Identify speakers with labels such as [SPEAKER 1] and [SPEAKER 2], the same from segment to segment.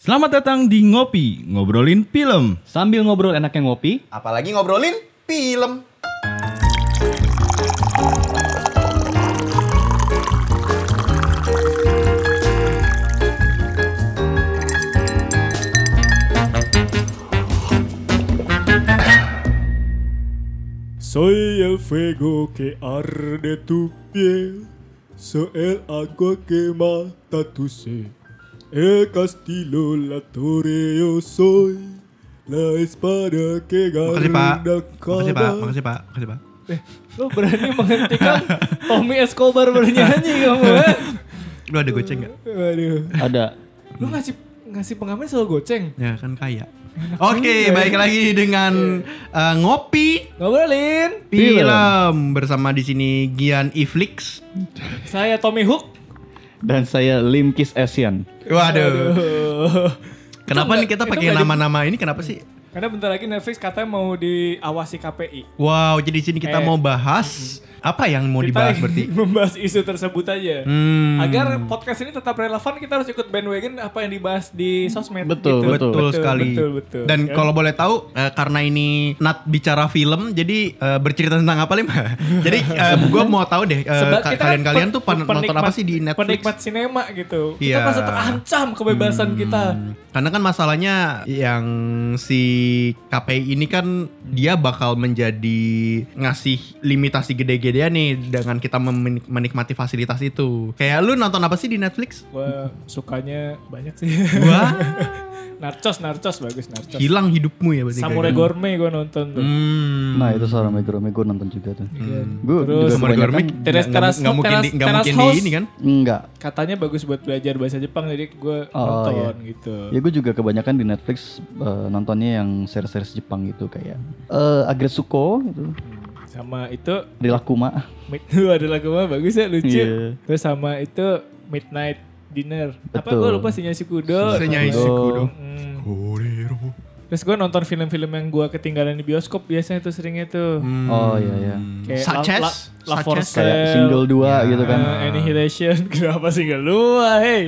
[SPEAKER 1] Selamat datang di Ngopi, ngobrolin film.
[SPEAKER 2] Sambil ngobrol enaknya ngopi,
[SPEAKER 3] Apalagi ngobrolin film.
[SPEAKER 4] Soy el fuego que arde tu piel, soy el agua que mata tu sed, el castillo, la torre yo soy, la espada que
[SPEAKER 5] Makasih Pak.
[SPEAKER 4] gana
[SPEAKER 5] Makasih Pak. Makasih Pak. Makasih Pak.
[SPEAKER 2] lo berani menghentikan Tommy Escobar bernyanyi kamu ya?
[SPEAKER 4] eh?
[SPEAKER 5] Lu ada goceng nggak?
[SPEAKER 4] Aduh,
[SPEAKER 2] Ada.
[SPEAKER 4] lu ngasih ngasih pengamen selalu goceng.
[SPEAKER 5] Ya kan kaya. Oke,
[SPEAKER 4] Iya.
[SPEAKER 5] baik lagi dengan eh, ngopi
[SPEAKER 4] Ngobrolin,
[SPEAKER 5] film bersama di sini Gian Iflix.
[SPEAKER 4] saya Tommy Hook.
[SPEAKER 2] Dan saya Limkis Asian.
[SPEAKER 5] Waduh. Kenapa
[SPEAKER 4] Itu
[SPEAKER 5] nih kita
[SPEAKER 4] nggak- itu
[SPEAKER 5] pakai
[SPEAKER 4] nggak di-
[SPEAKER 5] nama-nama ini? Kenapa sih?
[SPEAKER 4] Karena bentar lagi Netflix katanya mau diawasi KPI.
[SPEAKER 5] Wow, jadi di sini kita
[SPEAKER 4] Eh.
[SPEAKER 5] mau bahas apa yang mau
[SPEAKER 4] Kita
[SPEAKER 5] dibahas berarti?
[SPEAKER 4] membahas isu tersebut aja.
[SPEAKER 5] Hmm.
[SPEAKER 4] Agar podcast ini tetap relevan, kita harus ikut bandwagon apa yang dibahas di sosmed.
[SPEAKER 2] Betul,
[SPEAKER 4] gitu.
[SPEAKER 5] Betul, sekali.
[SPEAKER 4] Betul, betul.
[SPEAKER 5] Dan
[SPEAKER 4] Kan?
[SPEAKER 5] kalau boleh tahu, eh, karena ini not bicara film, jadi eh, bercerita tentang apa lim? jadi gue mau tahu deh, eh,
[SPEAKER 4] Sebab
[SPEAKER 5] ka-
[SPEAKER 4] kita kan
[SPEAKER 5] kalian-kalian tuh pen-
[SPEAKER 4] penikmat-
[SPEAKER 5] nonton apa sih di Netflix?
[SPEAKER 4] Penikmat sinema gitu. Kita
[SPEAKER 5] Iya.
[SPEAKER 4] merasa terancam kebebasan kita.
[SPEAKER 5] Karena kan masalahnya yang si KPI ini kan dia bakal menjadi ngasih limitasi gede-gedean nih dengan kita memen- menikmati fasilitas itu. Kayak lu nonton apa sih di Netflix?
[SPEAKER 4] Gue sukanya banyak sih.
[SPEAKER 5] Gua
[SPEAKER 4] narcos, narcos bagus narcos.
[SPEAKER 5] hilang hidupmu ya berarti.
[SPEAKER 4] Samurai
[SPEAKER 5] kayak.
[SPEAKER 4] Gourmet gue nonton tuh.
[SPEAKER 5] Hmm.
[SPEAKER 2] Nah itu suara Megro Megro nonton juga tuh.
[SPEAKER 4] Iya.
[SPEAKER 2] Gue
[SPEAKER 4] Terus-
[SPEAKER 2] juga
[SPEAKER 5] Samurai Gourmet
[SPEAKER 2] kebanyakan
[SPEAKER 4] Teras-
[SPEAKER 5] nggak- nggak- nggak
[SPEAKER 4] teras-
[SPEAKER 5] mungkin di- nggak
[SPEAKER 4] teras
[SPEAKER 5] mungkin
[SPEAKER 4] house. Eh,
[SPEAKER 5] di ini kan?
[SPEAKER 2] enggak.
[SPEAKER 4] Katanya bagus buat belajar bahasa Jepang jadi gue
[SPEAKER 5] iya.
[SPEAKER 2] Oh,
[SPEAKER 4] nonton gitu.
[SPEAKER 2] Ya gue juga kebanyakan di Netflix eh, nontonnya yang series-series Jepang gitu kayak eh Agretsuko gitu,
[SPEAKER 4] Sama itu
[SPEAKER 2] Rilakuma.
[SPEAKER 4] Mid Lu ada lagu apa bagus ya lucu.
[SPEAKER 2] Iya.
[SPEAKER 4] Terus sama itu Midnight Dinner. Apa
[SPEAKER 2] Betul.
[SPEAKER 4] gue lupa Shinya Shikudo.
[SPEAKER 5] Shinya
[SPEAKER 2] Shikudo.
[SPEAKER 5] Shikudo.
[SPEAKER 4] Hmm. Terus gue nonton film-film yang gue ketinggalan di bioskop biasanya tuh seringnya tuh.
[SPEAKER 5] Hmm.
[SPEAKER 2] Oh iya ya.
[SPEAKER 4] Hmm. Kayak
[SPEAKER 5] Such
[SPEAKER 4] La-
[SPEAKER 5] as?
[SPEAKER 4] La- La
[SPEAKER 5] Such
[SPEAKER 4] For
[SPEAKER 5] as?
[SPEAKER 4] Sale.
[SPEAKER 2] Kayak single dua gitu
[SPEAKER 4] Eh,
[SPEAKER 2] kan.
[SPEAKER 4] Annihilation. Kenapa single dua? Hey.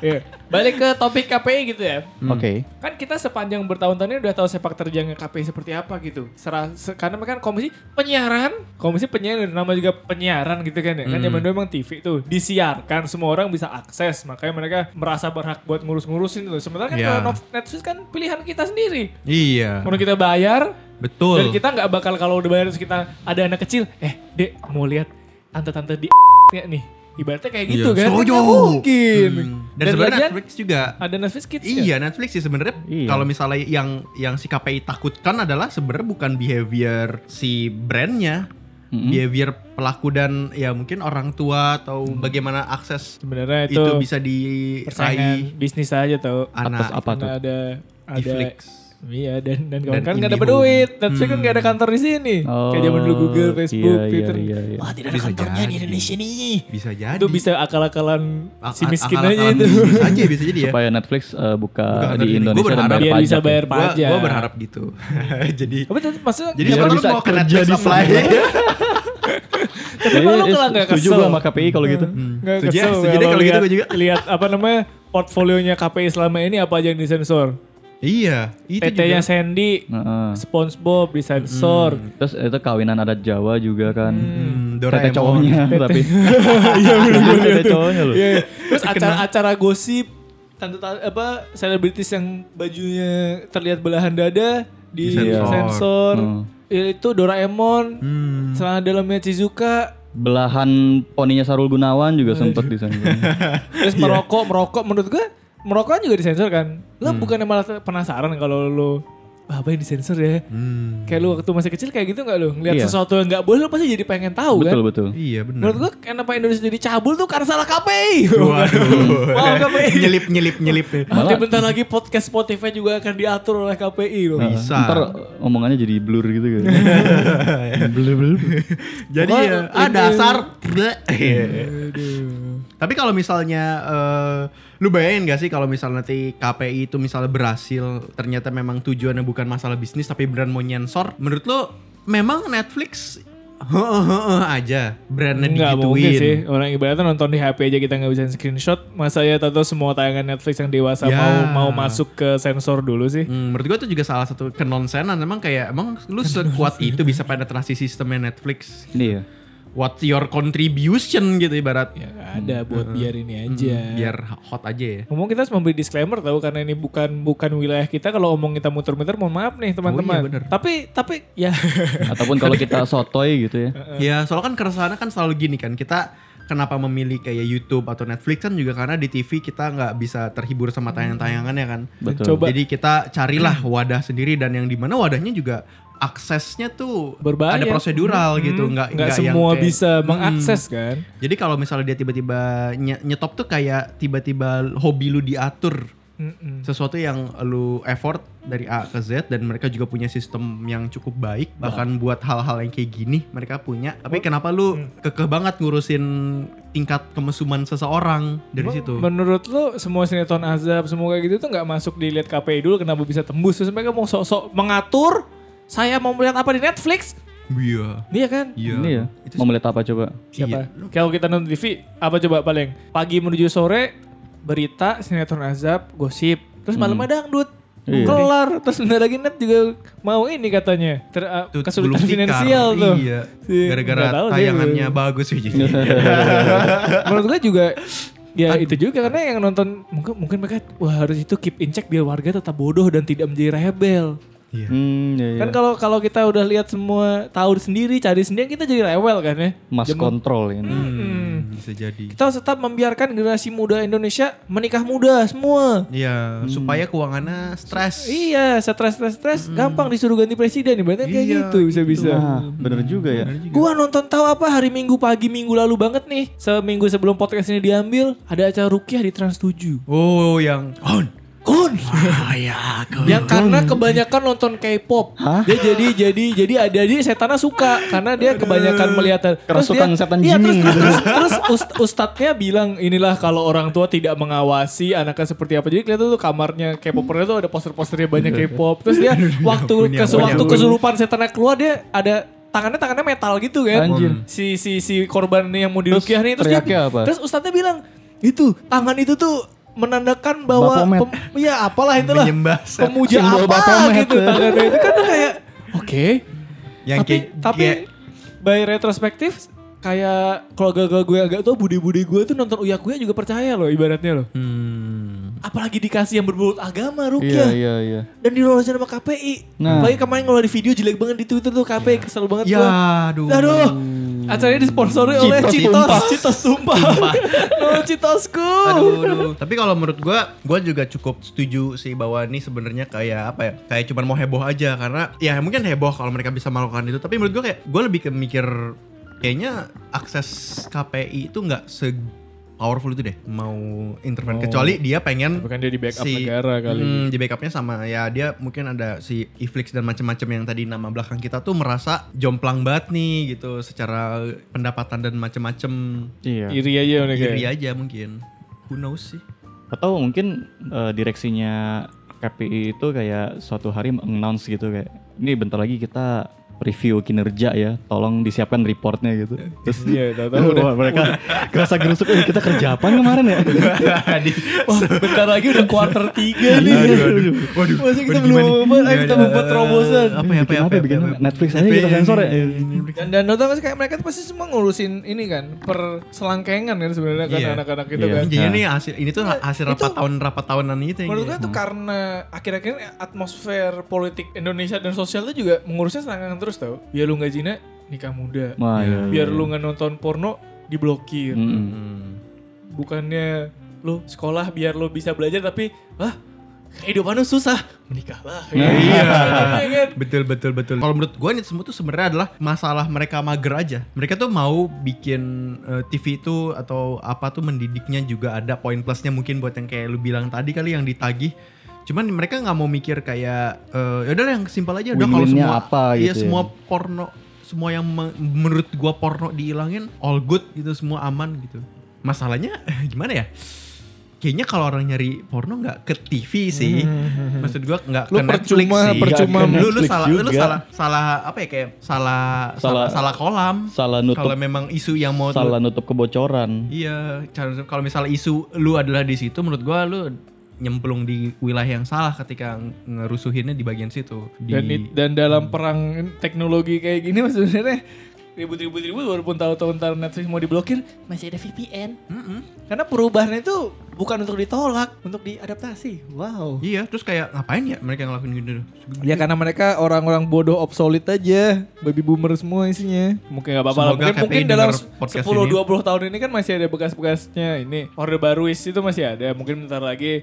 [SPEAKER 4] Iya. Balik ke topik KPI gitu ya.
[SPEAKER 2] Oke.
[SPEAKER 4] Kan kita sepanjang bertahun-tahun ini udah tahu sepak terjangnya KPI seperti apa gitu. Sera- se- karena kan komisi penyiaran, komisi penyiaran dan nama juga penyiaran gitu kan ya.
[SPEAKER 2] Hmm.
[SPEAKER 4] Kan zaman dulu emang TV tuh disiarkan, semua orang bisa akses. Makanya mereka merasa berhak buat ngurus-ngurusin tuh. Sementara kan
[SPEAKER 5] Iya.
[SPEAKER 4] kalau Nov- Netflix kan pilihan kita sendiri.
[SPEAKER 5] Iya.
[SPEAKER 4] Kalau kita bayar,
[SPEAKER 5] Betul.
[SPEAKER 4] dan kita nggak bakal kalau udah bayar terus kita ada anak kecil, eh dek mau lihat tante-tante di ya nih. Ibaratnya kayak gitu
[SPEAKER 5] Iya,
[SPEAKER 4] kan.
[SPEAKER 5] setuju.
[SPEAKER 4] Nggak mungkin.
[SPEAKER 5] Hmm. Dan, sebenarnya
[SPEAKER 4] lagian
[SPEAKER 5] Netflix juga
[SPEAKER 4] ada Netflix Kids ya?
[SPEAKER 5] Iya Netflix sih sebenarnya
[SPEAKER 2] Iya.
[SPEAKER 5] kalau misalnya yang yang si KPI takutkan adalah sebenarnya bukan behavior si brandnya,
[SPEAKER 2] Mm-mm.
[SPEAKER 5] behavior pelaku dan ya mungkin orang tua atau bagaimana akses
[SPEAKER 4] Sebenarnya
[SPEAKER 5] itu,
[SPEAKER 4] Mm. itu,
[SPEAKER 5] bisa diraih
[SPEAKER 4] persaingan bisnis aja tau.
[SPEAKER 2] Atas
[SPEAKER 5] anak
[SPEAKER 2] apa tuh?
[SPEAKER 4] Karena ada ada
[SPEAKER 5] Netflix.
[SPEAKER 4] Iya dan dan kawan
[SPEAKER 5] Dan
[SPEAKER 4] kan nggak dapat
[SPEAKER 5] IndiHome.
[SPEAKER 4] duit, Netflix kan
[SPEAKER 5] Hmm.
[SPEAKER 4] nggak ada kantor di sini.
[SPEAKER 2] Oh,
[SPEAKER 4] Kayak zaman dulu Google,
[SPEAKER 2] iya,
[SPEAKER 4] Facebook,
[SPEAKER 2] iya,
[SPEAKER 4] Twitter.
[SPEAKER 2] iya, iya.
[SPEAKER 4] Wah tidak ada
[SPEAKER 5] Bisa
[SPEAKER 4] kantornya di
[SPEAKER 5] jadi.
[SPEAKER 4] Indonesia nih.
[SPEAKER 5] Bisa jadi.
[SPEAKER 4] Itu bisa akal-akalan
[SPEAKER 5] Ak-
[SPEAKER 4] si miskin aja
[SPEAKER 5] akal-akalan
[SPEAKER 4] itu.
[SPEAKER 5] bisnis aja bisa jadi ya.
[SPEAKER 2] Supaya Netflix eh, buka di
[SPEAKER 5] Bukan negeri.
[SPEAKER 2] Indonesia
[SPEAKER 5] Gua
[SPEAKER 2] dan
[SPEAKER 5] berharap
[SPEAKER 2] bayar
[SPEAKER 4] Biar
[SPEAKER 2] pajak.
[SPEAKER 4] bisa
[SPEAKER 2] ya.
[SPEAKER 4] bayar
[SPEAKER 5] Gua,
[SPEAKER 4] pajak.
[SPEAKER 5] gua berharap gitu. jadi
[SPEAKER 4] Tapi tuh, maksudnya
[SPEAKER 5] jadi
[SPEAKER 2] Biar
[SPEAKER 5] sekarang
[SPEAKER 2] bisa
[SPEAKER 5] lu mau ke
[SPEAKER 2] kerja
[SPEAKER 5] Netflix
[SPEAKER 2] di
[SPEAKER 5] apply. Iya,
[SPEAKER 4] Tapi kalau
[SPEAKER 2] Jadi,
[SPEAKER 4] kalau nggak
[SPEAKER 2] setuju
[SPEAKER 4] kesel.
[SPEAKER 2] gua sama KPI kalau gitu.
[SPEAKER 4] Nggak
[SPEAKER 5] Setuju ya,
[SPEAKER 4] kesel
[SPEAKER 5] setuju deh
[SPEAKER 4] kalau
[SPEAKER 5] kalau gitu
[SPEAKER 4] lihat,
[SPEAKER 5] gua juga.
[SPEAKER 4] lihat apa namanya portfolionya KPI selama ini apa aja yang disensor.
[SPEAKER 5] Iya, itu juga. Nah.
[SPEAKER 4] PT-nya Sandy,
[SPEAKER 2] Heeh.
[SPEAKER 4] SpongeBob disensor.
[SPEAKER 2] Terus itu kawinan adat Jawa juga kan.
[SPEAKER 5] Hmm,
[SPEAKER 2] Tete
[SPEAKER 5] Doraemon.
[SPEAKER 2] cowoknya tapi. Iya Tete cowoknya loh.
[SPEAKER 4] Iya, iya. Terus acara-acara gosip tante apa selebritis yang bajunya terlihat belahan dada di
[SPEAKER 5] Disensor.
[SPEAKER 4] sensor.
[SPEAKER 2] Hmm.
[SPEAKER 4] Itu Doraemon,
[SPEAKER 5] Hmm.
[SPEAKER 4] celana dalamnya Chizuka,
[SPEAKER 2] Belahan poninya Sarul Gunawan juga sempet di sana.
[SPEAKER 4] terus
[SPEAKER 5] Iya.
[SPEAKER 4] merokok, merokok menurut gua merokok juga disensor kan. Lo
[SPEAKER 5] Hmm.
[SPEAKER 4] bukannya malah penasaran kalau lo "Wah, apa yang disensor ya?
[SPEAKER 5] Hmm.
[SPEAKER 4] Kayak lu waktu masih kecil kayak gitu nggak lo? Ngeliat
[SPEAKER 2] Iya.
[SPEAKER 4] sesuatu yang nggak boleh lo pasti jadi pengen tahu
[SPEAKER 2] Betul
[SPEAKER 4] kan?
[SPEAKER 2] betul.
[SPEAKER 5] Iya benar.
[SPEAKER 4] Menurut gua kenapa Indonesia jadi cabul tuh karena salah KPI.
[SPEAKER 5] Waduh.
[SPEAKER 4] Wow, KPI.
[SPEAKER 5] nyelip nyelip nyelip.
[SPEAKER 4] Nanti bentar lagi podcast Spotify juga akan diatur oleh KPI loh.
[SPEAKER 2] Nah,
[SPEAKER 5] Bisa.
[SPEAKER 2] Ntar omongannya jadi blur gitu kan. blur blur.
[SPEAKER 5] Jadi
[SPEAKER 4] Pokoknya
[SPEAKER 5] ya,
[SPEAKER 4] ini- Iya.
[SPEAKER 5] ah dasar. Bleh. Tapi kalau misalnya eh, lu bayangin gak sih kalau misalnya nanti KPI itu misalnya berhasil ternyata memang tujuannya bukan masalah bisnis tapi beneran mau nyensor, menurut lu memang Netflix heeh heeh aja brandnya
[SPEAKER 4] Nggak mungkin
[SPEAKER 5] digituin.
[SPEAKER 4] sih. Orang ibaratnya nonton di HP aja kita nggak bisa screenshot. Masa ya tato semua tayangan Netflix yang dewasa
[SPEAKER 5] Ya.
[SPEAKER 4] mau mau masuk ke sensor dulu sih.
[SPEAKER 5] Hmm, menurut gue itu juga salah satu kenonsenan emang kayak emang lu sekuat itu bisa penetrasi sistemnya Netflix
[SPEAKER 2] Ini ya.
[SPEAKER 5] what's your contribution gitu ibarat
[SPEAKER 4] Ya nggak ada buat biar ini aja.
[SPEAKER 5] biar hot aja ya
[SPEAKER 4] Ngomong kita harus memberi disclaimer tahu karena ini bukan bukan wilayah kita kalau omong kita muter-muter mohon maaf nih teman-teman.
[SPEAKER 5] Oh iya, bener.
[SPEAKER 4] tapi tapi ya
[SPEAKER 2] Ataupun kalau kita sotoy gitu ya.
[SPEAKER 4] Eh.
[SPEAKER 5] ya soalnya kan keresahannya kan selalu gini kan kita kenapa memilih kayak YouTube atau Netflix kan juga karena di TV kita nggak bisa terhibur sama tayangan-tayangannya kan
[SPEAKER 2] Betul.
[SPEAKER 4] Hmm. Coba-
[SPEAKER 5] jadi kita carilah wadah sendiri dan yang dimana wadahnya juga aksesnya tuh
[SPEAKER 4] berbayar.
[SPEAKER 5] ada prosedural
[SPEAKER 4] Hmm,
[SPEAKER 5] gitu nggak
[SPEAKER 4] nggak
[SPEAKER 5] yang
[SPEAKER 4] semua
[SPEAKER 5] kayak-
[SPEAKER 4] bisa
[SPEAKER 5] Mm-mm.
[SPEAKER 4] mengakses kan.
[SPEAKER 5] Jadi kalau misalnya dia tiba-tiba nye- nyetop tuh kayak tiba-tiba hobi lu diatur
[SPEAKER 4] Mm-mm.
[SPEAKER 5] sesuatu yang lu effort dari A ke Z dan mereka juga punya sistem yang cukup baik bahkan buat hal-hal yang kayak gini mereka punya tapi
[SPEAKER 4] Oh.
[SPEAKER 5] kenapa lu
[SPEAKER 4] Hmm.
[SPEAKER 5] kekeh banget ngurusin tingkat kemesuman seseorang dari situ
[SPEAKER 4] Menurut lu semua sinetron azab semua kayak gitu tuh nggak masuk dilihat KPI dulu kenapa bisa tembus terus mereka mau sok-sok mengatur saya mau melihat apa di Netflix
[SPEAKER 5] iya
[SPEAKER 4] Iya kan?
[SPEAKER 5] iya
[SPEAKER 2] Ini ya.
[SPEAKER 5] Itu
[SPEAKER 2] Mau melihat apa coba?
[SPEAKER 4] Siapa? Iya. Kalau kita nonton TV apa coba paling pagi menuju sore berita sinetron azab gosip terus malam ada dangdut
[SPEAKER 2] Iya.
[SPEAKER 4] kelar terus bentar lagi net juga mau ini katanya Ter- uh,
[SPEAKER 5] Tuh, gulung
[SPEAKER 4] kesulitan
[SPEAKER 5] tikar.
[SPEAKER 4] finansial tuh
[SPEAKER 5] iya
[SPEAKER 4] Si-
[SPEAKER 5] gara-gara
[SPEAKER 4] nggak tahu sih
[SPEAKER 5] tayangannya
[SPEAKER 4] gue.
[SPEAKER 5] bagus sih
[SPEAKER 4] menurut gue juga ya itu juga karena yang nonton mungkin mungkin mereka wah harus itu keep in check biar warga tetap bodoh dan tidak menjadi rebel
[SPEAKER 5] Iya.
[SPEAKER 2] Hmm, ya,
[SPEAKER 4] kan kalau kalau kita udah lihat semua tahu sendiri cari sendiri kita jadi rewel kan ya
[SPEAKER 2] Mas
[SPEAKER 4] Jam-
[SPEAKER 2] kontrol ini.
[SPEAKER 5] Hmm, bisa jadi
[SPEAKER 4] kita harus tetap membiarkan generasi muda Indonesia menikah muda
[SPEAKER 2] Hmm.
[SPEAKER 4] semua
[SPEAKER 5] Iya, supaya keuangannya stres.
[SPEAKER 4] Iya, stres stres stres gampang disuruh ganti presiden berarti kayak gitu bisa-bisa.
[SPEAKER 2] Nah, bener juga ya.
[SPEAKER 4] Gua nonton tahu apa hari Minggu pagi minggu lalu banget nih. Seminggu sebelum podcast ini diambil, ada acara rukiah di Trans 7.
[SPEAKER 5] Oh, yang on.
[SPEAKER 4] Kun.
[SPEAKER 5] ya,
[SPEAKER 4] Yang karena kebanyakan nonton K-pop.
[SPEAKER 2] Hah?
[SPEAKER 4] Dia jadi jadi jadi ada dia setannya suka karena dia kebanyakan melihat
[SPEAKER 2] Kerasukan
[SPEAKER 4] dia-
[SPEAKER 2] setan
[SPEAKER 4] iya, terus,
[SPEAKER 2] Jimmy
[SPEAKER 4] terus,
[SPEAKER 2] gitu.
[SPEAKER 4] terus, terus ust- ustadznya bilang inilah kalau orang tua tidak mengawasi anaknya seperti apa. Jadi kelihatan tuh kamarnya K-popernya tuh ada poster-posternya banyak K-pop. Terus dia waktu
[SPEAKER 5] ampun, ya
[SPEAKER 4] kesu waktu
[SPEAKER 5] ampun.
[SPEAKER 4] kesurupan setannya keluar dia ada tangannya tangannya metal gitu kan.
[SPEAKER 2] Anjir.
[SPEAKER 4] Si si si korban yang mau dirukiah nih terus dia
[SPEAKER 2] teriaknya apa?
[SPEAKER 4] terus ustadznya bilang itu tangan itu tuh menandakan bahwa
[SPEAKER 2] Bapomet.
[SPEAKER 4] pem- ya apalah itulah
[SPEAKER 5] Menyembah setan.
[SPEAKER 4] pemuja
[SPEAKER 2] Simbol
[SPEAKER 4] apa
[SPEAKER 2] Bapomet.
[SPEAKER 4] gitu tangannya itu kan kayak oke
[SPEAKER 5] yang
[SPEAKER 4] tapi tapi by retrospektif kayak keluarga gue agak tuh bude-bude gue tuh nonton uya kuya juga percaya loh ibaratnya loh
[SPEAKER 5] Hmm.
[SPEAKER 4] apalagi dikasih yang berbulut agama
[SPEAKER 2] Iya,
[SPEAKER 4] rukyah
[SPEAKER 2] iya, iya.
[SPEAKER 4] dan dilolosin sama KPI
[SPEAKER 2] Nah.
[SPEAKER 4] apalagi kemarin ngeluarin video jelek banget di Twitter tuh KPI kesel banget
[SPEAKER 5] Ya,
[SPEAKER 4] gua.
[SPEAKER 5] aduh.
[SPEAKER 4] Aduh. Acaranya disponsori oleh
[SPEAKER 2] Citos
[SPEAKER 4] Citos.
[SPEAKER 2] Tumpah.
[SPEAKER 4] Citos Tumpah. no Citosku.
[SPEAKER 5] Aduh, aduh. Tapi kalau menurut gua, gua juga cukup setuju sih bahwa ini sebenarnya kayak apa ya? Kayak cuman mau heboh aja karena ya mungkin heboh kalau mereka bisa melakukan itu. Tapi menurut gua kayak gua lebih ke mikir kayaknya akses KPI itu nggak se powerful itu deh mau intervene kecuali dia pengen
[SPEAKER 4] Bukan dia Oh. di backup
[SPEAKER 5] si-
[SPEAKER 4] negara kali.
[SPEAKER 5] Hmm, di backupnya sama ya dia mungkin ada si Iflix dan macam-macam yang tadi nama belakang kita tuh merasa jomplang banget nih gitu secara pendapatan dan macam-macam
[SPEAKER 2] Iya.
[SPEAKER 4] Iri aja udah kayak.
[SPEAKER 5] diri aja mungkin who knows sih
[SPEAKER 2] Atau mungkin eh, direksinya KPI itu kayak suatu hari announce gitu kayak ini bentar lagi kita review kinerja ya, tolong disiapkan reportnya gitu. Terus
[SPEAKER 4] Iya, tahu-tahu udah.
[SPEAKER 2] Wah, mereka kerasa gerusuk, "Eh, kita kerja apaan kemarin ya?
[SPEAKER 4] Wah, bentar lagi udah quarter 3 nih.
[SPEAKER 5] Aduh, aduh.
[SPEAKER 4] Waduh. Masa kita
[SPEAKER 5] Waduh,
[SPEAKER 4] belum
[SPEAKER 5] gimana nih? Iya, eh,
[SPEAKER 4] apa, ayo kita membuat terobosan.
[SPEAKER 5] apa ya apa ya
[SPEAKER 2] Bikin
[SPEAKER 5] apa ya,
[SPEAKER 2] bikin
[SPEAKER 5] apa ya? Iya,
[SPEAKER 2] Netflix aja kita sensor ya.
[SPEAKER 4] Dan dan nonton pasti kayak mereka tuh pasti semua ngurusin ini kan, per selangkengan kan sebenarnya kan
[SPEAKER 5] Iya.
[SPEAKER 4] anak-anak
[SPEAKER 2] Iya.
[SPEAKER 4] itu kan.
[SPEAKER 5] Ini jadinya nih hasil ini tuh hasil
[SPEAKER 4] Itu-
[SPEAKER 5] rapat tahun rapat tahunan gitu ya
[SPEAKER 4] Menurut kan gue tuh karena akhir-akhir ini atmosfer politik Indonesia dan sosial tuh juga mengurusnya selangkangan terus tau. Biar lu nggak jina, nikah muda.
[SPEAKER 2] Wah, iya, iya,
[SPEAKER 4] Biar
[SPEAKER 2] iya.
[SPEAKER 4] lu nggak nonton porno, diblokir.
[SPEAKER 5] Hmm.
[SPEAKER 2] Mm-mm.
[SPEAKER 4] Bukannya lu sekolah biar lu bisa belajar tapi, ah kehidupan lu susah, menikahlah.
[SPEAKER 5] Iya.
[SPEAKER 4] Iya kan?
[SPEAKER 5] Betul betul betul. Kalau menurut gue ini semua tuh sebenarnya adalah masalah mereka mager aja. Mereka tuh mau bikin eh, TV itu atau apa tuh mendidiknya juga ada poin plusnya mungkin buat yang kayak lu bilang tadi kali yang ditagih. Cuman mereka nggak mau mikir kayak ya udah yang simpel aja udah kalau
[SPEAKER 2] Win-winnya
[SPEAKER 5] semua
[SPEAKER 2] apa
[SPEAKER 5] iya,
[SPEAKER 2] gitu ya.
[SPEAKER 5] semua porno semua yang me- menurut gua porno dihilangin all good gitu semua aman gitu. Masalahnya gimana ya? kayaknya kalau orang nyari porno nggak ke TV sih. Maksud gua nggak
[SPEAKER 4] Lu
[SPEAKER 5] ke Netflix
[SPEAKER 4] percuma-
[SPEAKER 5] sih.
[SPEAKER 4] percuma
[SPEAKER 5] Nggak ke lu, lu
[SPEAKER 2] Netflix
[SPEAKER 5] salah lu
[SPEAKER 2] juga.
[SPEAKER 5] salah salah apa ya kayak salah salah
[SPEAKER 2] Salah-
[SPEAKER 5] salah kolam.
[SPEAKER 2] salah nutup-
[SPEAKER 5] Kalau memang isu yang mau lu-
[SPEAKER 2] salah nutup kebocoran
[SPEAKER 5] Iya, cara- kalau misalnya isu lu adalah di situ menurut gua lu nyemplung di wilayah yang salah ketika ngerusuhinnya di bagian situ. Di,
[SPEAKER 4] Dan, it- dan dalam perang teknologi kayak gini maksudnya ribut-ribut-ribut walaupun tahu-tahu ntar Netflix mau diblokir masih ada VPN. Karena perubahan itu bukan untuk ditolak, untuk diadaptasi. Wow.
[SPEAKER 5] Iya, terus kayak ngapain ya mereka ngelakuin gitu?
[SPEAKER 4] Ya karena mereka orang-orang bodoh obsolete aja, baby boomer semua isinya. Mungkin nggak apa-apa lah.
[SPEAKER 5] Semoga
[SPEAKER 4] Mungkin,
[SPEAKER 5] KPI
[SPEAKER 4] mungkin dalam
[SPEAKER 5] denger podcast
[SPEAKER 4] 10 20 tahun ini kan masih ada bekas-bekasnya ini. Orde baru itu masih ada. Mungkin bentar lagi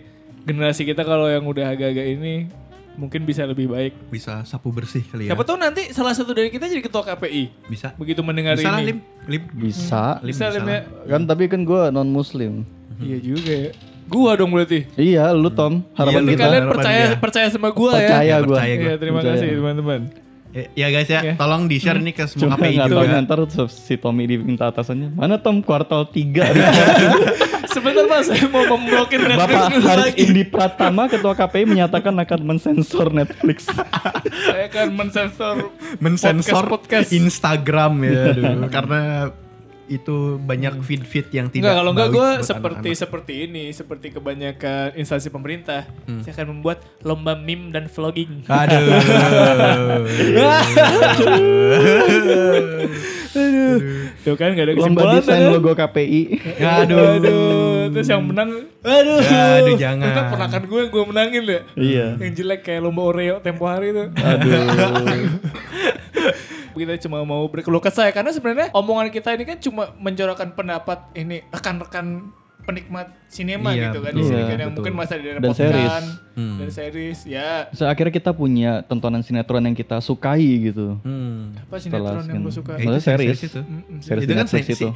[SPEAKER 4] generasi kita kalau yang udah agak-agak ini mungkin bisa lebih baik.
[SPEAKER 5] Bisa sapu bersih kali ya.
[SPEAKER 4] Siapa tahu nanti salah satu dari kita jadi ketua KPI.
[SPEAKER 5] Bisa.
[SPEAKER 4] Begitu mendengar
[SPEAKER 5] Bisa lah, Lim.
[SPEAKER 4] ini.
[SPEAKER 5] Lim.
[SPEAKER 2] bisa
[SPEAKER 5] Lim,
[SPEAKER 4] Bisa, Lim, ya.
[SPEAKER 2] kan tapi kan gue non muslim
[SPEAKER 4] Iya juga ya. Gua dong berarti.
[SPEAKER 2] iya lu Tom harapan
[SPEAKER 5] Iya, lu,
[SPEAKER 4] Berarti
[SPEAKER 2] kita
[SPEAKER 4] kalian
[SPEAKER 5] harapan
[SPEAKER 4] percaya
[SPEAKER 5] dia.
[SPEAKER 4] percaya sama Mm. gua
[SPEAKER 2] percaya
[SPEAKER 4] ya.
[SPEAKER 2] gue
[SPEAKER 5] percaya gua.
[SPEAKER 4] Iya, terima
[SPEAKER 2] Percaya.
[SPEAKER 4] kasih teman-teman.
[SPEAKER 5] Ya- Ya guys ya,
[SPEAKER 4] Ya.
[SPEAKER 5] tolong di-share nih ke
[SPEAKER 2] Cuma
[SPEAKER 5] semua KPI
[SPEAKER 4] gitu
[SPEAKER 2] nggak tahu
[SPEAKER 5] juga.
[SPEAKER 2] ntar si Tommy diminta atasannya mana Tom kuartal 3
[SPEAKER 4] Sebentar Pak, saya mau memblokir Netflix
[SPEAKER 2] Bapak
[SPEAKER 4] dulu
[SPEAKER 2] Haris
[SPEAKER 4] lagi.
[SPEAKER 2] Indi Pratama Ketua KPI menyatakan akan mensensor Netflix
[SPEAKER 4] Saya akan mensensor
[SPEAKER 5] Mensensor
[SPEAKER 4] podcast. podcast.
[SPEAKER 5] Instagram ya aduh. karena itu banyak feed-feed yang tidak
[SPEAKER 4] Hmm. Enggak, kalau enggak
[SPEAKER 5] baik
[SPEAKER 4] gue
[SPEAKER 5] buat
[SPEAKER 4] seperti
[SPEAKER 5] anak-anak.
[SPEAKER 4] seperti ini, seperti kebanyakan instansi pemerintah, saya akan membuat lomba meme dan vlogging. Tuh kan gak ada
[SPEAKER 2] Lomba
[SPEAKER 4] kesimpulan.
[SPEAKER 2] desain
[SPEAKER 4] kan?
[SPEAKER 2] logo KPI
[SPEAKER 5] Aduh.
[SPEAKER 4] Aduh, terus yang menang, aduh,
[SPEAKER 5] Ya, aduh, jangan.
[SPEAKER 4] Itu kan ponakan gue yang gue menangin ya.
[SPEAKER 2] Iya
[SPEAKER 4] Yang jelek kayak lomba Oreo tempo hari itu.
[SPEAKER 2] Aduh
[SPEAKER 4] kita cuma mau berkeluh kesah ya karena sebenarnya omongan kita ini kan cuma menjorokkan pendapat ini rekan-rekan penikmat sinema
[SPEAKER 5] Iya,
[SPEAKER 4] gitu kan
[SPEAKER 5] betul. Hmm.
[SPEAKER 4] di sini
[SPEAKER 2] Iya,
[SPEAKER 4] kan yang
[SPEAKER 5] betul.
[SPEAKER 4] mungkin masa di daerah
[SPEAKER 2] Dan series.
[SPEAKER 4] potan dan series ya
[SPEAKER 2] So, akhirnya kita punya tontonan sinetron yang kita sukai gitu.
[SPEAKER 5] Hmm.
[SPEAKER 2] Setelah Eh.
[SPEAKER 4] apa sinetron yang lo suka
[SPEAKER 5] Ya, itu
[SPEAKER 2] Maksudnya series.
[SPEAKER 5] series itu.
[SPEAKER 2] Series di
[SPEAKER 5] itu kan
[SPEAKER 2] Netflix
[SPEAKER 5] si-
[SPEAKER 2] itu.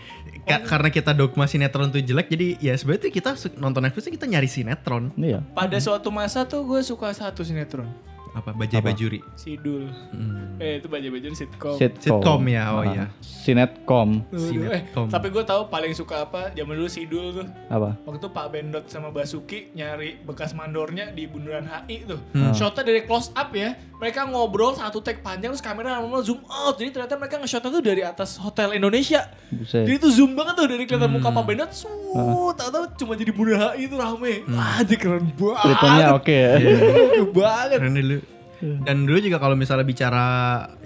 [SPEAKER 5] ka- karena kita dogma sinetron itu jelek jadi ya sebenarnya tuh kita su- nonton Netflix kita nyari sinetron
[SPEAKER 2] Iya.
[SPEAKER 4] pada suatu masa tuh gue suka satu sinetron
[SPEAKER 5] apa bajai bajuri
[SPEAKER 4] Sidul
[SPEAKER 5] Hmm.
[SPEAKER 4] eh itu baju baju sitcom
[SPEAKER 5] Sitcom ya, oh
[SPEAKER 2] Ah,
[SPEAKER 5] iya.
[SPEAKER 2] Sinetcom
[SPEAKER 4] Tuh, tuh, eh,
[SPEAKER 5] Sinetcom.
[SPEAKER 4] tapi gue tahu paling suka apa zaman dulu Sidul tuh
[SPEAKER 5] Ah,
[SPEAKER 2] apa?
[SPEAKER 4] Waktu itu Pak Bendot sama Basuki nyari bekas mandornya di bundaran HI tuh.
[SPEAKER 2] Hmm.
[SPEAKER 4] Shotnya dari close up ya. Mereka ngobrol satu take panjang terus kamera lama-lama zoom out. Jadi ternyata mereka nge-shotnya tuh dari atas Hotel Indonesia.
[SPEAKER 2] Buset. Hmm. Ah.
[SPEAKER 4] Jadi tuh zoom banget tuh dari kelihatan muka Pak Bendot. Suut, tahu-tahu cuma jadi bundaran HI itu rame. Wah, dia keren banget.
[SPEAKER 2] Ceritanya Hmm. oke ya.
[SPEAKER 5] Iya.
[SPEAKER 4] Keren banget.
[SPEAKER 5] karena dulu dan dulu juga kalau misalnya bicara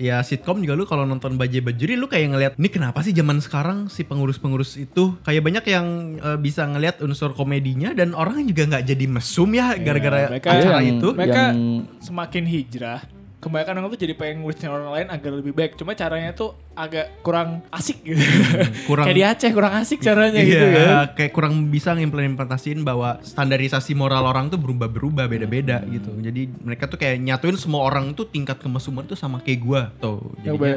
[SPEAKER 5] ya sitkom juga lu kalau nonton Bajai Bajuri lu kayak ngelihat ini kenapa sih zaman sekarang si pengurus-pengurus itu kayak banyak yang eh, bisa ngelihat unsur komedinya dan orang juga nggak jadi mesum ya gara-gara
[SPEAKER 4] Iya, mereka-
[SPEAKER 5] acara
[SPEAKER 2] Yang-
[SPEAKER 5] itu.
[SPEAKER 4] Mereka
[SPEAKER 2] yang
[SPEAKER 4] semakin hijrah. Kebanyakan orang tuh jadi pengen ngurusin orang lain agar lebih baik. Cuma caranya tuh agak kurang asik gitu.
[SPEAKER 2] Hmm,
[SPEAKER 5] kurang-
[SPEAKER 4] Kayak di Aceh kurang asik caranya
[SPEAKER 5] Iya,
[SPEAKER 4] gitu kan.
[SPEAKER 5] kayak kurang bisa ngimplementasiin bahwa standarisasi moral orang tuh berubah-berubah beda-beda
[SPEAKER 4] Hmm.
[SPEAKER 5] gitu. Jadi mereka tuh kayak nyatuin semua orang tuh tingkat kemesuman tuh sama kayak gua tuh.
[SPEAKER 4] Iya.
[SPEAKER 5] Jadinya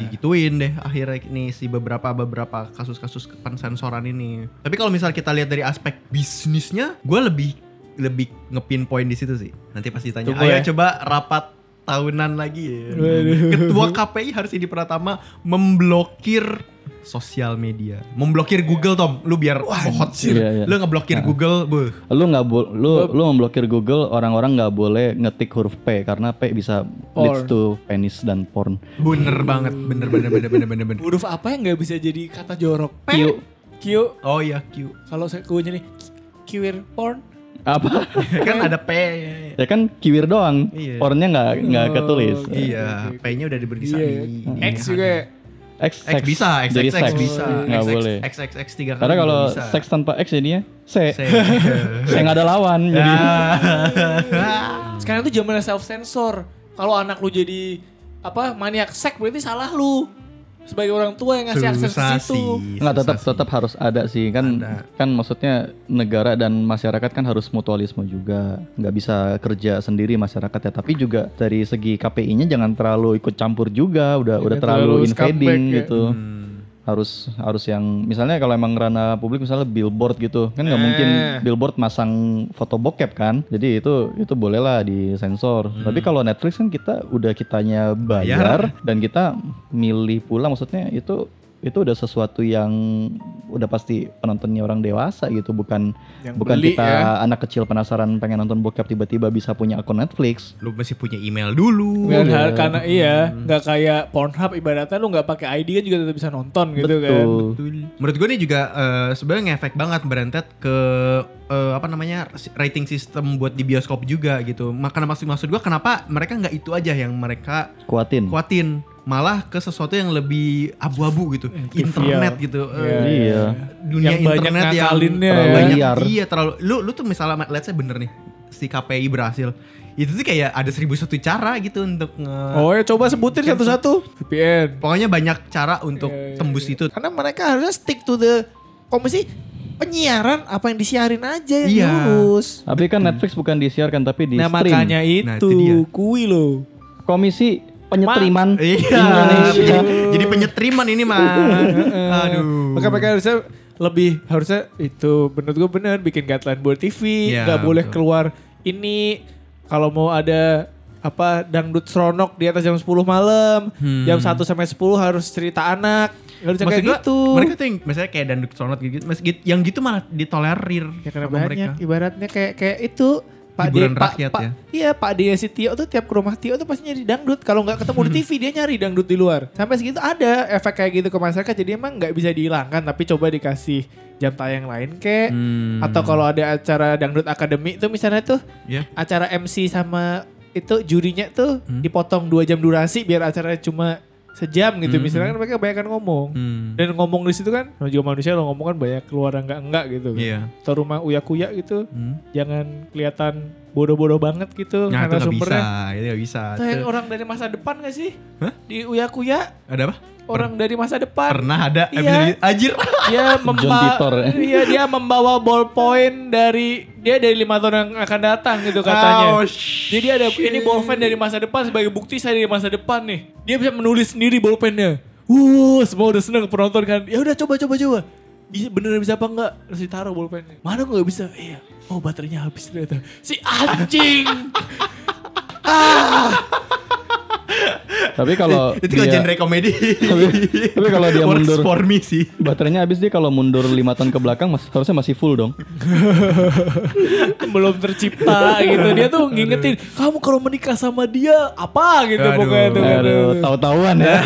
[SPEAKER 5] digituin deh akhirnya nih si beberapa beberapa kasus-kasus pensensoran ini. Tapi kalau misal kita lihat dari aspek bisnisnya, gua lebih lebih ngepin poin di situ sih. Nanti pasti tanya.
[SPEAKER 4] Tunggu
[SPEAKER 5] Ayo
[SPEAKER 4] ya.
[SPEAKER 5] coba rapat tahunan lagi ya. Ketua KPI harus di Pratama memblokir sosial media, memblokir Google Tom. Lu biar hot sih.
[SPEAKER 2] Iya, iya.
[SPEAKER 5] Lu ngeblokir Google, buh.
[SPEAKER 2] lu nggak bo- lu lu memblokir Google orang-orang nggak boleh ngetik huruf P karena P bisa leads to penis dan porn.
[SPEAKER 5] Bener banget, bener bener bener bener bener bener.
[SPEAKER 4] Huruf apa yang nggak bisa jadi kata jorok?
[SPEAKER 2] Q
[SPEAKER 4] Q.
[SPEAKER 5] Oh iya Q.
[SPEAKER 4] Kalau saya gue jadi kiwir porn.
[SPEAKER 2] apa?
[SPEAKER 5] kan ada P.
[SPEAKER 2] ya kan kiwir doang.
[SPEAKER 5] Iya.
[SPEAKER 2] Pornnya nggak nggak ketulis.
[SPEAKER 5] Iya, P-nya udah diberi di Iya.
[SPEAKER 4] X juga. ya.
[SPEAKER 2] X,
[SPEAKER 5] X bisa, X
[SPEAKER 2] Jadi
[SPEAKER 5] X X
[SPEAKER 2] sex. Oh,
[SPEAKER 5] bisa.
[SPEAKER 2] Nggak
[SPEAKER 5] X, X,
[SPEAKER 2] boleh.
[SPEAKER 5] X X X tiga kali.
[SPEAKER 2] Karena kalau
[SPEAKER 5] juga bisa.
[SPEAKER 2] seks tanpa X jadinya C.
[SPEAKER 5] Se-
[SPEAKER 2] Saya nggak ada lawan.
[SPEAKER 5] Ya,
[SPEAKER 2] Jadi
[SPEAKER 4] Sekarang tuh zamannya self sensor. Kalau anak lu jadi apa maniak sek berarti salah lu. Sebagai orang tua yang ngasih akses
[SPEAKER 5] Susah
[SPEAKER 4] ke situ.
[SPEAKER 5] sih,
[SPEAKER 2] nggak tetap
[SPEAKER 5] susah
[SPEAKER 2] tetap harus ada sih kan
[SPEAKER 5] Ada.
[SPEAKER 2] kan maksudnya negara dan masyarakat kan harus mutualisme juga nggak bisa kerja sendiri masyarakat ya tapi juga dari segi KPI-nya jangan terlalu ikut compur juga udah
[SPEAKER 5] Iya,
[SPEAKER 2] udah
[SPEAKER 4] terlalu
[SPEAKER 2] terlalu
[SPEAKER 4] scumbag
[SPEAKER 2] invading
[SPEAKER 4] ya.
[SPEAKER 2] gitu
[SPEAKER 5] Hmm.
[SPEAKER 2] harus harus yang misalnya kalau emang ranah publik misalnya billboard gitu kan nggak mungkin
[SPEAKER 4] Eh.
[SPEAKER 2] billboard masang foto bokep kan jadi itu itu bolehlah disensor
[SPEAKER 4] Hmm.
[SPEAKER 2] tapi kalau Netflix kan kita udah kitanya bayar, dan kita milih pula maksudnya itu itu udah sesuatu yang udah pasti penontonnya orang dewasa gitu, bukan
[SPEAKER 4] Yang
[SPEAKER 2] bukan
[SPEAKER 4] beli
[SPEAKER 2] kita
[SPEAKER 4] ya.
[SPEAKER 2] anak kecil penasaran pengen nonton bokep tiba-tiba bisa punya akun Netflix.
[SPEAKER 5] Lu mesti punya email dulu.
[SPEAKER 4] Bukan hal- karena iya nggak kayak Pornhub ibaratnya lu nggak pakai ID kan juga tetap bisa nonton gitu kan.
[SPEAKER 2] Betul.
[SPEAKER 5] Menurut gue ini juga eh, sebenarnya ngefek banget berentet ke eh, apa namanya rating sistem buat di bioskop juga gitu. Makanya maksud maksud gue kenapa mereka nggak itu aja yang mereka
[SPEAKER 2] Kuatin.
[SPEAKER 5] Hmm. kuatin malah ke sesuatu yang lebih abu-abu gitu internet gitu
[SPEAKER 4] Iya.
[SPEAKER 5] Eh,
[SPEAKER 2] Iya.
[SPEAKER 5] dunia
[SPEAKER 4] Yang banyak
[SPEAKER 5] internet yang
[SPEAKER 4] ngakalinnya
[SPEAKER 5] terlalu
[SPEAKER 2] ya.
[SPEAKER 5] banyak
[SPEAKER 2] Liar.
[SPEAKER 5] iya terlalu lu lu tuh misalnya let's say bener nih si KPI berhasil itu tuh kayak ada seribu satu cara gitu untuk nge-
[SPEAKER 4] Oh ya coba sebutin satu-satu VPN.
[SPEAKER 5] pokoknya banyak cara untuk
[SPEAKER 4] Iya,
[SPEAKER 5] tembus itu
[SPEAKER 4] Karena mereka harusnya stick to the komisi penyiaran apa yang disiarin aja yang
[SPEAKER 5] Iya.
[SPEAKER 4] diurus.
[SPEAKER 2] Tapi kan Netflix bukan disiarkan tapi di
[SPEAKER 4] Nah
[SPEAKER 2] stream.
[SPEAKER 4] makanya itu,
[SPEAKER 5] Nah, itu dia.
[SPEAKER 4] kui lo.
[SPEAKER 2] Komisi penyetriman
[SPEAKER 5] iya
[SPEAKER 2] Indonesia.
[SPEAKER 5] jadi, jadi penyetriman ini mah aduh
[SPEAKER 4] Maka mereka harusnya lebih harusnya itu menurut gue bener bikin guideline buat TV
[SPEAKER 5] Iya,
[SPEAKER 4] nggak boleh
[SPEAKER 5] betul.
[SPEAKER 4] keluar ini kalau mau ada apa dangdut seronok di atas jam 10 malam jam 1 sampai 10 harus cerita anak harusnya
[SPEAKER 5] Hmm. Maksud
[SPEAKER 4] kayak
[SPEAKER 5] gua,
[SPEAKER 4] gitu
[SPEAKER 5] mereka tuh yang misalnya kayak dandut sonot gitu, mas- gitu yang gitu malah ditolerir
[SPEAKER 4] ya karena
[SPEAKER 5] sama
[SPEAKER 4] banyak ibaratnya kayak kayak itu Pak D,
[SPEAKER 5] Hiburan
[SPEAKER 4] Pak,
[SPEAKER 5] rakyat
[SPEAKER 4] Pak-
[SPEAKER 5] ya.
[SPEAKER 4] Iya Pak D si Tio tuh tiap ke rumah Tio tuh pasti nyari dangdut. Kalau nggak ketemu di TV dia nyari dangdut di luar. Sampai segitu ada efek kayak gitu ke masyarakat. Jadi emang nggak bisa dihilangkan. Tapi coba dikasih jam tayang lain kek.
[SPEAKER 5] Hmm.
[SPEAKER 4] Atau kalau ada acara dangdut akademi tuh misalnya tuh
[SPEAKER 5] Iya.
[SPEAKER 4] acara MC sama itu jurinya tuh
[SPEAKER 5] Hmm?
[SPEAKER 4] dipotong dua jam durasi biar acaranya cuma sejam gitu. Misalnya kan mereka banyak ngomong.
[SPEAKER 5] Hmm.
[SPEAKER 4] Dan ngomong di situ kan, sama juga manusia lo ngomong kan banyak keluar yang enggak enggak gitu. kan.
[SPEAKER 5] Iya.
[SPEAKER 4] Atau rumah uya-kuya gitu,
[SPEAKER 5] Hmm.
[SPEAKER 4] jangan kelihatan bodoh-bodoh banget gitu
[SPEAKER 5] Nah, itu
[SPEAKER 4] karena
[SPEAKER 5] nggak bisa,
[SPEAKER 4] sumbernya.
[SPEAKER 5] itu nggak bisa.
[SPEAKER 4] Itu yang
[SPEAKER 5] Itu-
[SPEAKER 4] orang dari masa depan gak sih?
[SPEAKER 5] Hah?
[SPEAKER 4] Di uya-kuya
[SPEAKER 5] Ada apa?
[SPEAKER 4] orang dari masa depan.
[SPEAKER 5] Pernah ada
[SPEAKER 4] Iya.
[SPEAKER 5] episode ini. Anjir.
[SPEAKER 4] Dia
[SPEAKER 2] Titor,
[SPEAKER 4] membawa
[SPEAKER 2] ya.
[SPEAKER 4] iya dia membawa ballpoint dari dia dari lima tahun yang akan datang
[SPEAKER 5] Oh,
[SPEAKER 4] gitu katanya.
[SPEAKER 5] sh-
[SPEAKER 4] Jadi ada ini ballpen ya. dari masa depan sebagai bukti saya dari masa depan nih. Dia bisa menulis sendiri ballpennya. Wuh, semua udah seneng penonton kan. Ya udah coba coba coba. Bisa beneran bisa apa enggak? Terus ditaruh ballpennya. Mana gua nggak bisa? Iya. Oh baterainya habis ternyata. Si anjing.
[SPEAKER 2] Tapi kalau
[SPEAKER 5] itu kalau
[SPEAKER 2] dia-
[SPEAKER 5] genre komedi.
[SPEAKER 2] Iya. Tapi- tapi kalau dia
[SPEAKER 5] Works
[SPEAKER 2] mundur.
[SPEAKER 5] for me sih.
[SPEAKER 2] Baterainya habis dia kalau mundur lima tahun ke belakang mas, harusnya masih full dong.
[SPEAKER 4] belum tercipta gitu. Dia tuh ngingetin, kamu kalau menikah sama dia apa gitu
[SPEAKER 5] Aduh.
[SPEAKER 4] pokoknya tuh. kan.
[SPEAKER 2] Aduh, tahu-tahuan ya.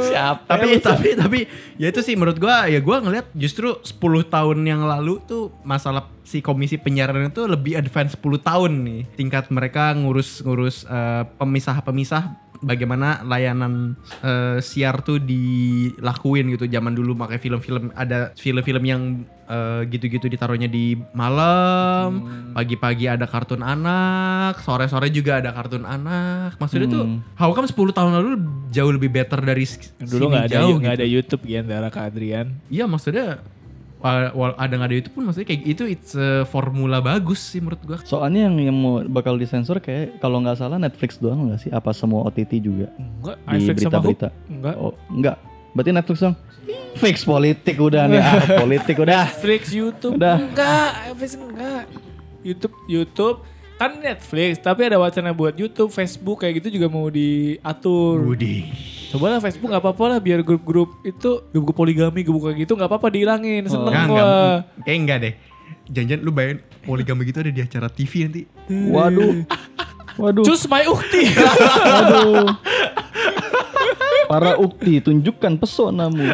[SPEAKER 2] Siapa?
[SPEAKER 5] Tapi tapi tapi ya itu sih menurut gua ya gua ngeliat justru 10 tahun yang lalu tuh masalah si komisi penyiaran itu lebih advance 10 tahun nih. Tingkat mereka ngurus-ngurus eh, pemisah-pemisah bagaimana layanan eh, siar tuh dilakuin gitu zaman dulu pakai film-film ada film-film yang eh, gitu-gitu ditaruhnya di malam pagi-pagi ada kartun anak sore-sore juga ada kartun anak maksudnya tuh how come 10 tahun lalu jauh lebih better dari s- sini
[SPEAKER 4] Dulu nggak ada
[SPEAKER 5] jauh
[SPEAKER 4] nggak
[SPEAKER 5] gitu.
[SPEAKER 4] ada YouTube ya antara Kak Adrian.
[SPEAKER 5] Iya maksudnya wa- wa- ada nggak ada itu pun maksudnya kayak itu it's a formula bagus sih menurut gua.
[SPEAKER 2] Soalnya yang, yang mau bakal disensor kayak kalau nggak salah Netflix doang nggak sih? Apa semua OTT juga
[SPEAKER 4] Enggak,
[SPEAKER 2] di
[SPEAKER 4] Netflix sama Hook.
[SPEAKER 2] berita-berita?
[SPEAKER 4] Enggak.
[SPEAKER 2] Oh nggak. Berarti Netflix dong. Fix politik udah nih, ah, politik udah.
[SPEAKER 4] Netflix, YouTube.
[SPEAKER 2] Udah.
[SPEAKER 4] Enggak, Netflix enggak. YouTube, YouTube kan Netflix, tapi ada wacana buat YouTube, Facebook kayak gitu juga mau diatur.
[SPEAKER 5] Budi.
[SPEAKER 4] Coba lah Facebook nggak apa-apa lah biar grup-grup itu grup poligami grup kayak gitu nggak apa-apa dihilangin. Seneng
[SPEAKER 5] Oh. Nggak, nggak.
[SPEAKER 4] gua.
[SPEAKER 5] Kayak enggak deh. Jangan-jangan lu bayangin poligami gitu ada di acara TV nanti.
[SPEAKER 2] Waduh. Waduh.
[SPEAKER 4] Cus my ukti.
[SPEAKER 2] Waduh. Para ukti tunjukkan pesonamu.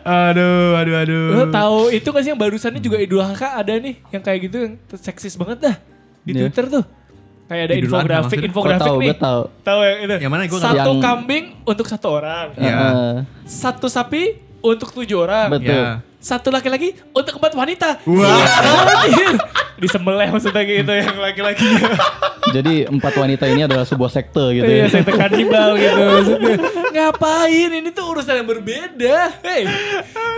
[SPEAKER 5] Aduh, aduh, aduh.
[SPEAKER 4] Lo tahu itu kan sih yang barusannya juga Idul Adha ada nih yang kayak gitu yang seksis banget dah di
[SPEAKER 2] Iya.
[SPEAKER 4] Twitter tuh. Kayak ada
[SPEAKER 5] Idul Adha
[SPEAKER 4] infografik,
[SPEAKER 5] maksudnya?
[SPEAKER 2] Gue
[SPEAKER 4] infografik
[SPEAKER 2] tahu,
[SPEAKER 4] nih.
[SPEAKER 2] gue tahu.
[SPEAKER 4] Tahu yang itu.
[SPEAKER 5] Yang mana gua nggak
[SPEAKER 4] Satu
[SPEAKER 2] tahu.
[SPEAKER 4] kambing untuk satu orang.
[SPEAKER 5] Iya.
[SPEAKER 2] Heeh.
[SPEAKER 4] Satu sapi untuk tujuh orang.
[SPEAKER 2] Betul.
[SPEAKER 5] Ya.
[SPEAKER 4] Satu laki-laki untuk empat wanita.
[SPEAKER 5] Wah.
[SPEAKER 4] Anjir. Disembelih maksudnya gitu yang laki-laki.
[SPEAKER 2] Jadi empat wanita ini adalah sebuah sekte gitu
[SPEAKER 4] Iya,
[SPEAKER 2] ya.
[SPEAKER 4] saya tekan hibau gitu maksudnya. Ngapain? Ini tuh urusan yang berbeda. Hei,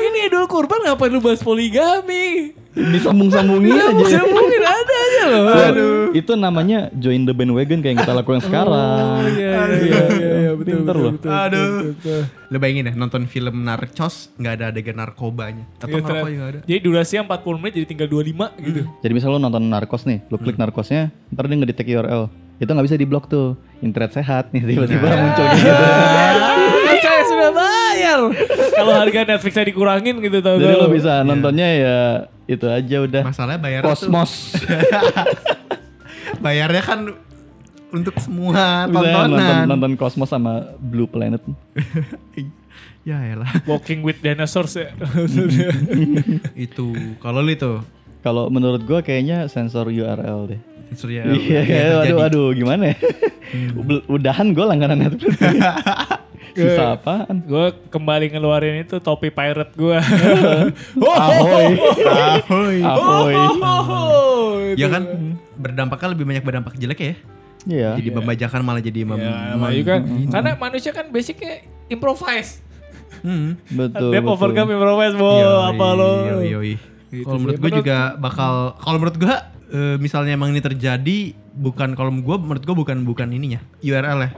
[SPEAKER 4] ini Idul Kurban ngapain lu bahas poligami?
[SPEAKER 2] Disambung-sambungin
[SPEAKER 4] Iya,
[SPEAKER 2] aja.
[SPEAKER 4] maksudnya mungkin ada aja loh.
[SPEAKER 2] Wah, Itu namanya join the bandwagon kayak yang kita lakukan sekarang.
[SPEAKER 4] Oh, Iya, iya, iya, iya, iya, betul,
[SPEAKER 2] Pinter
[SPEAKER 4] betul,
[SPEAKER 2] loh.
[SPEAKER 4] betul, Iya,
[SPEAKER 5] Aduh.
[SPEAKER 4] betul, betul.
[SPEAKER 5] Lu bayangin ya nonton film narcos nggak ada adegan narkobanya. Atau
[SPEAKER 4] Iya,
[SPEAKER 5] narko
[SPEAKER 4] ternyata.
[SPEAKER 5] juga ada.
[SPEAKER 4] Jadi durasinya 40 menit jadi tinggal 25 gitu.
[SPEAKER 2] Jadi misalnya lo nonton Narcos nih, lo
[SPEAKER 5] Hmm.
[SPEAKER 2] klik Narcosnya, ntar dia ngedetek
[SPEAKER 5] Iya.
[SPEAKER 4] Iya.
[SPEAKER 2] URL. Itu nggak bisa di blok tuh. Internet sehat nih tiba-tiba muncul gitu.
[SPEAKER 4] Ah, Saya udah bayar. Kalau harga Netflixnya dikurangin gitu tau
[SPEAKER 2] Jadi
[SPEAKER 4] gak
[SPEAKER 2] lo bisa
[SPEAKER 5] Iya.
[SPEAKER 2] nontonnya ya itu aja udah.
[SPEAKER 5] Masalahnya bayar
[SPEAKER 2] Kosmos.
[SPEAKER 5] bayarnya kan untuk
[SPEAKER 2] Bisa
[SPEAKER 5] semua
[SPEAKER 2] nonton,
[SPEAKER 5] tontonan.
[SPEAKER 2] nonton Kosmos sama Blue Planet.
[SPEAKER 5] ya elah.
[SPEAKER 4] Walking with Dinosaurs ya.
[SPEAKER 5] itu kalau lu itu
[SPEAKER 2] Kalau menurut gua kayaknya sensor URL deh.
[SPEAKER 5] surya
[SPEAKER 2] Iya, kayak aduh aduh gimana ya? Bel- Udahan gue langganan Netflix. Sisa apaan?
[SPEAKER 4] gue kembali ngeluarin itu topi pirate gue.
[SPEAKER 2] Ahoy.
[SPEAKER 5] oh, Ahoy.
[SPEAKER 2] Iya, Ahoy.
[SPEAKER 5] ya kan berdampaknya lebih banyak berdampak jelek ya
[SPEAKER 2] Iya.
[SPEAKER 5] jadi membajakan malah jadi mem
[SPEAKER 4] Ya,
[SPEAKER 5] mem-
[SPEAKER 4] maju kan. Karena manusia kan basicnya improvise.
[SPEAKER 5] Hmm.
[SPEAKER 2] Betul.
[SPEAKER 4] Dia
[SPEAKER 2] betul. Iya,
[SPEAKER 4] overcome improvise, bo.
[SPEAKER 5] Yoi,
[SPEAKER 4] apa lo?
[SPEAKER 5] yoi, yoi.
[SPEAKER 4] Gitu
[SPEAKER 5] kalau
[SPEAKER 4] sih.
[SPEAKER 5] menurut gue
[SPEAKER 4] Menurut-
[SPEAKER 5] juga bakal kalau menurut gue eh, misalnya emang ini terjadi bukan kalau gue menurut gue bukan bukan ininya URL ya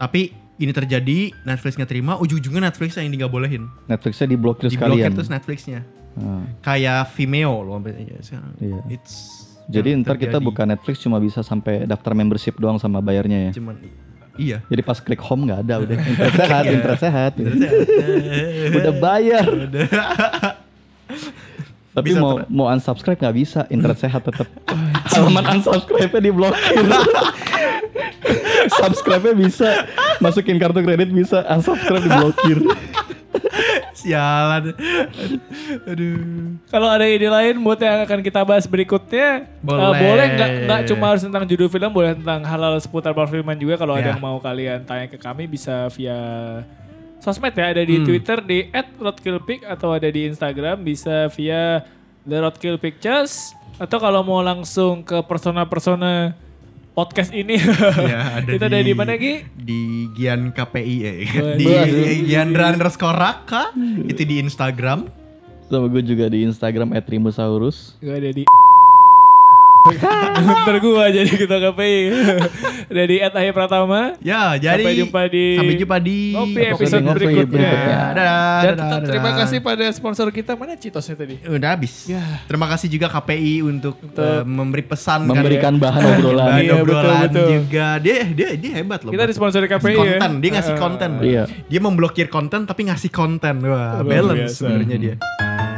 [SPEAKER 5] tapi ini terjadi Netflix nggak terima ujung-ujungnya Netflix yang nggak bolehin
[SPEAKER 2] Netflixnya diblokir
[SPEAKER 5] diblokir
[SPEAKER 2] sekalian.
[SPEAKER 5] terus Netflixnya
[SPEAKER 2] Nah,
[SPEAKER 5] kayak Vimeo loh sampai ya, sekarang.
[SPEAKER 2] Iya.
[SPEAKER 5] It's
[SPEAKER 2] jadi
[SPEAKER 5] yang
[SPEAKER 2] ntar kita
[SPEAKER 5] Nah, terjadi.
[SPEAKER 2] buka Netflix cuma bisa sampai daftar membership doang sama bayarnya ya.
[SPEAKER 5] cuman iya
[SPEAKER 2] Jadi pas klik home nggak ada udah. Internet sehat, internet sehat. udah bayar. Tapi
[SPEAKER 5] Bisa
[SPEAKER 2] mau mau unsubscribe nggak bisa, internet sehat tetap. Halaman unsubscribe-nya diblokir. Subscribe-nya bisa, masukin kartu kredit bisa, unsubscribe diblokir.
[SPEAKER 5] sialan aduh
[SPEAKER 4] Kalau ada ide lain buat yang akan kita bahas berikutnya, eh,
[SPEAKER 5] Boleh.
[SPEAKER 4] boleh nggak nggak cuma harus tentang judul film, boleh tentang hal-hal seputar perfilman juga. Kalau ada
[SPEAKER 5] Ya.
[SPEAKER 4] yang mau kalian tanya ke kami bisa via sosmed ya, ada di
[SPEAKER 5] Hmm.
[SPEAKER 4] Twitter di @roadkillpic atau ada di Instagram bisa via The Roadkill Pictures atau kalau mau langsung ke persona-persona podcast ini,
[SPEAKER 5] ya ada
[SPEAKER 4] itu ada di mana Gi?
[SPEAKER 5] di Gian KPI eh.
[SPEAKER 4] Waduh.
[SPEAKER 5] di Giandra underscore Raka itu di Instagram
[SPEAKER 2] Sama gue juga di Instagram @rimusaurus.
[SPEAKER 4] Gue ada di Ntar gue jadi ketua KPI Ada di Ed Ahya Pratama
[SPEAKER 5] ya jadi
[SPEAKER 4] Sampai jumpa di-
[SPEAKER 5] sampai jumpa di Ya,
[SPEAKER 4] Ngopi episode
[SPEAKER 2] Ngopi
[SPEAKER 4] berikutnya.
[SPEAKER 2] berikutnya.
[SPEAKER 5] dadah,
[SPEAKER 4] Dan
[SPEAKER 5] dadah,
[SPEAKER 4] tetap terima
[SPEAKER 5] dadah.
[SPEAKER 4] kasih Ya. pada sponsor kita Mana Citosnya tadi?
[SPEAKER 5] udah habis terima kasih juga KPI untuk eh, memberi pesan kan,
[SPEAKER 2] Memberikan bahan obrolan.
[SPEAKER 5] bahan
[SPEAKER 4] Iya, betul,
[SPEAKER 5] obrolan
[SPEAKER 4] betul.
[SPEAKER 5] juga dia dia dia hebat loh
[SPEAKER 4] Kita
[SPEAKER 5] buat-
[SPEAKER 4] disponsori
[SPEAKER 5] ngasih
[SPEAKER 4] KPI ya.
[SPEAKER 5] konten dia ngasih konten
[SPEAKER 2] Iya.
[SPEAKER 5] dia memblokir konten tapi ngasih konten wah
[SPEAKER 4] Luar
[SPEAKER 5] balance
[SPEAKER 4] biasa.
[SPEAKER 5] sebenarnya dia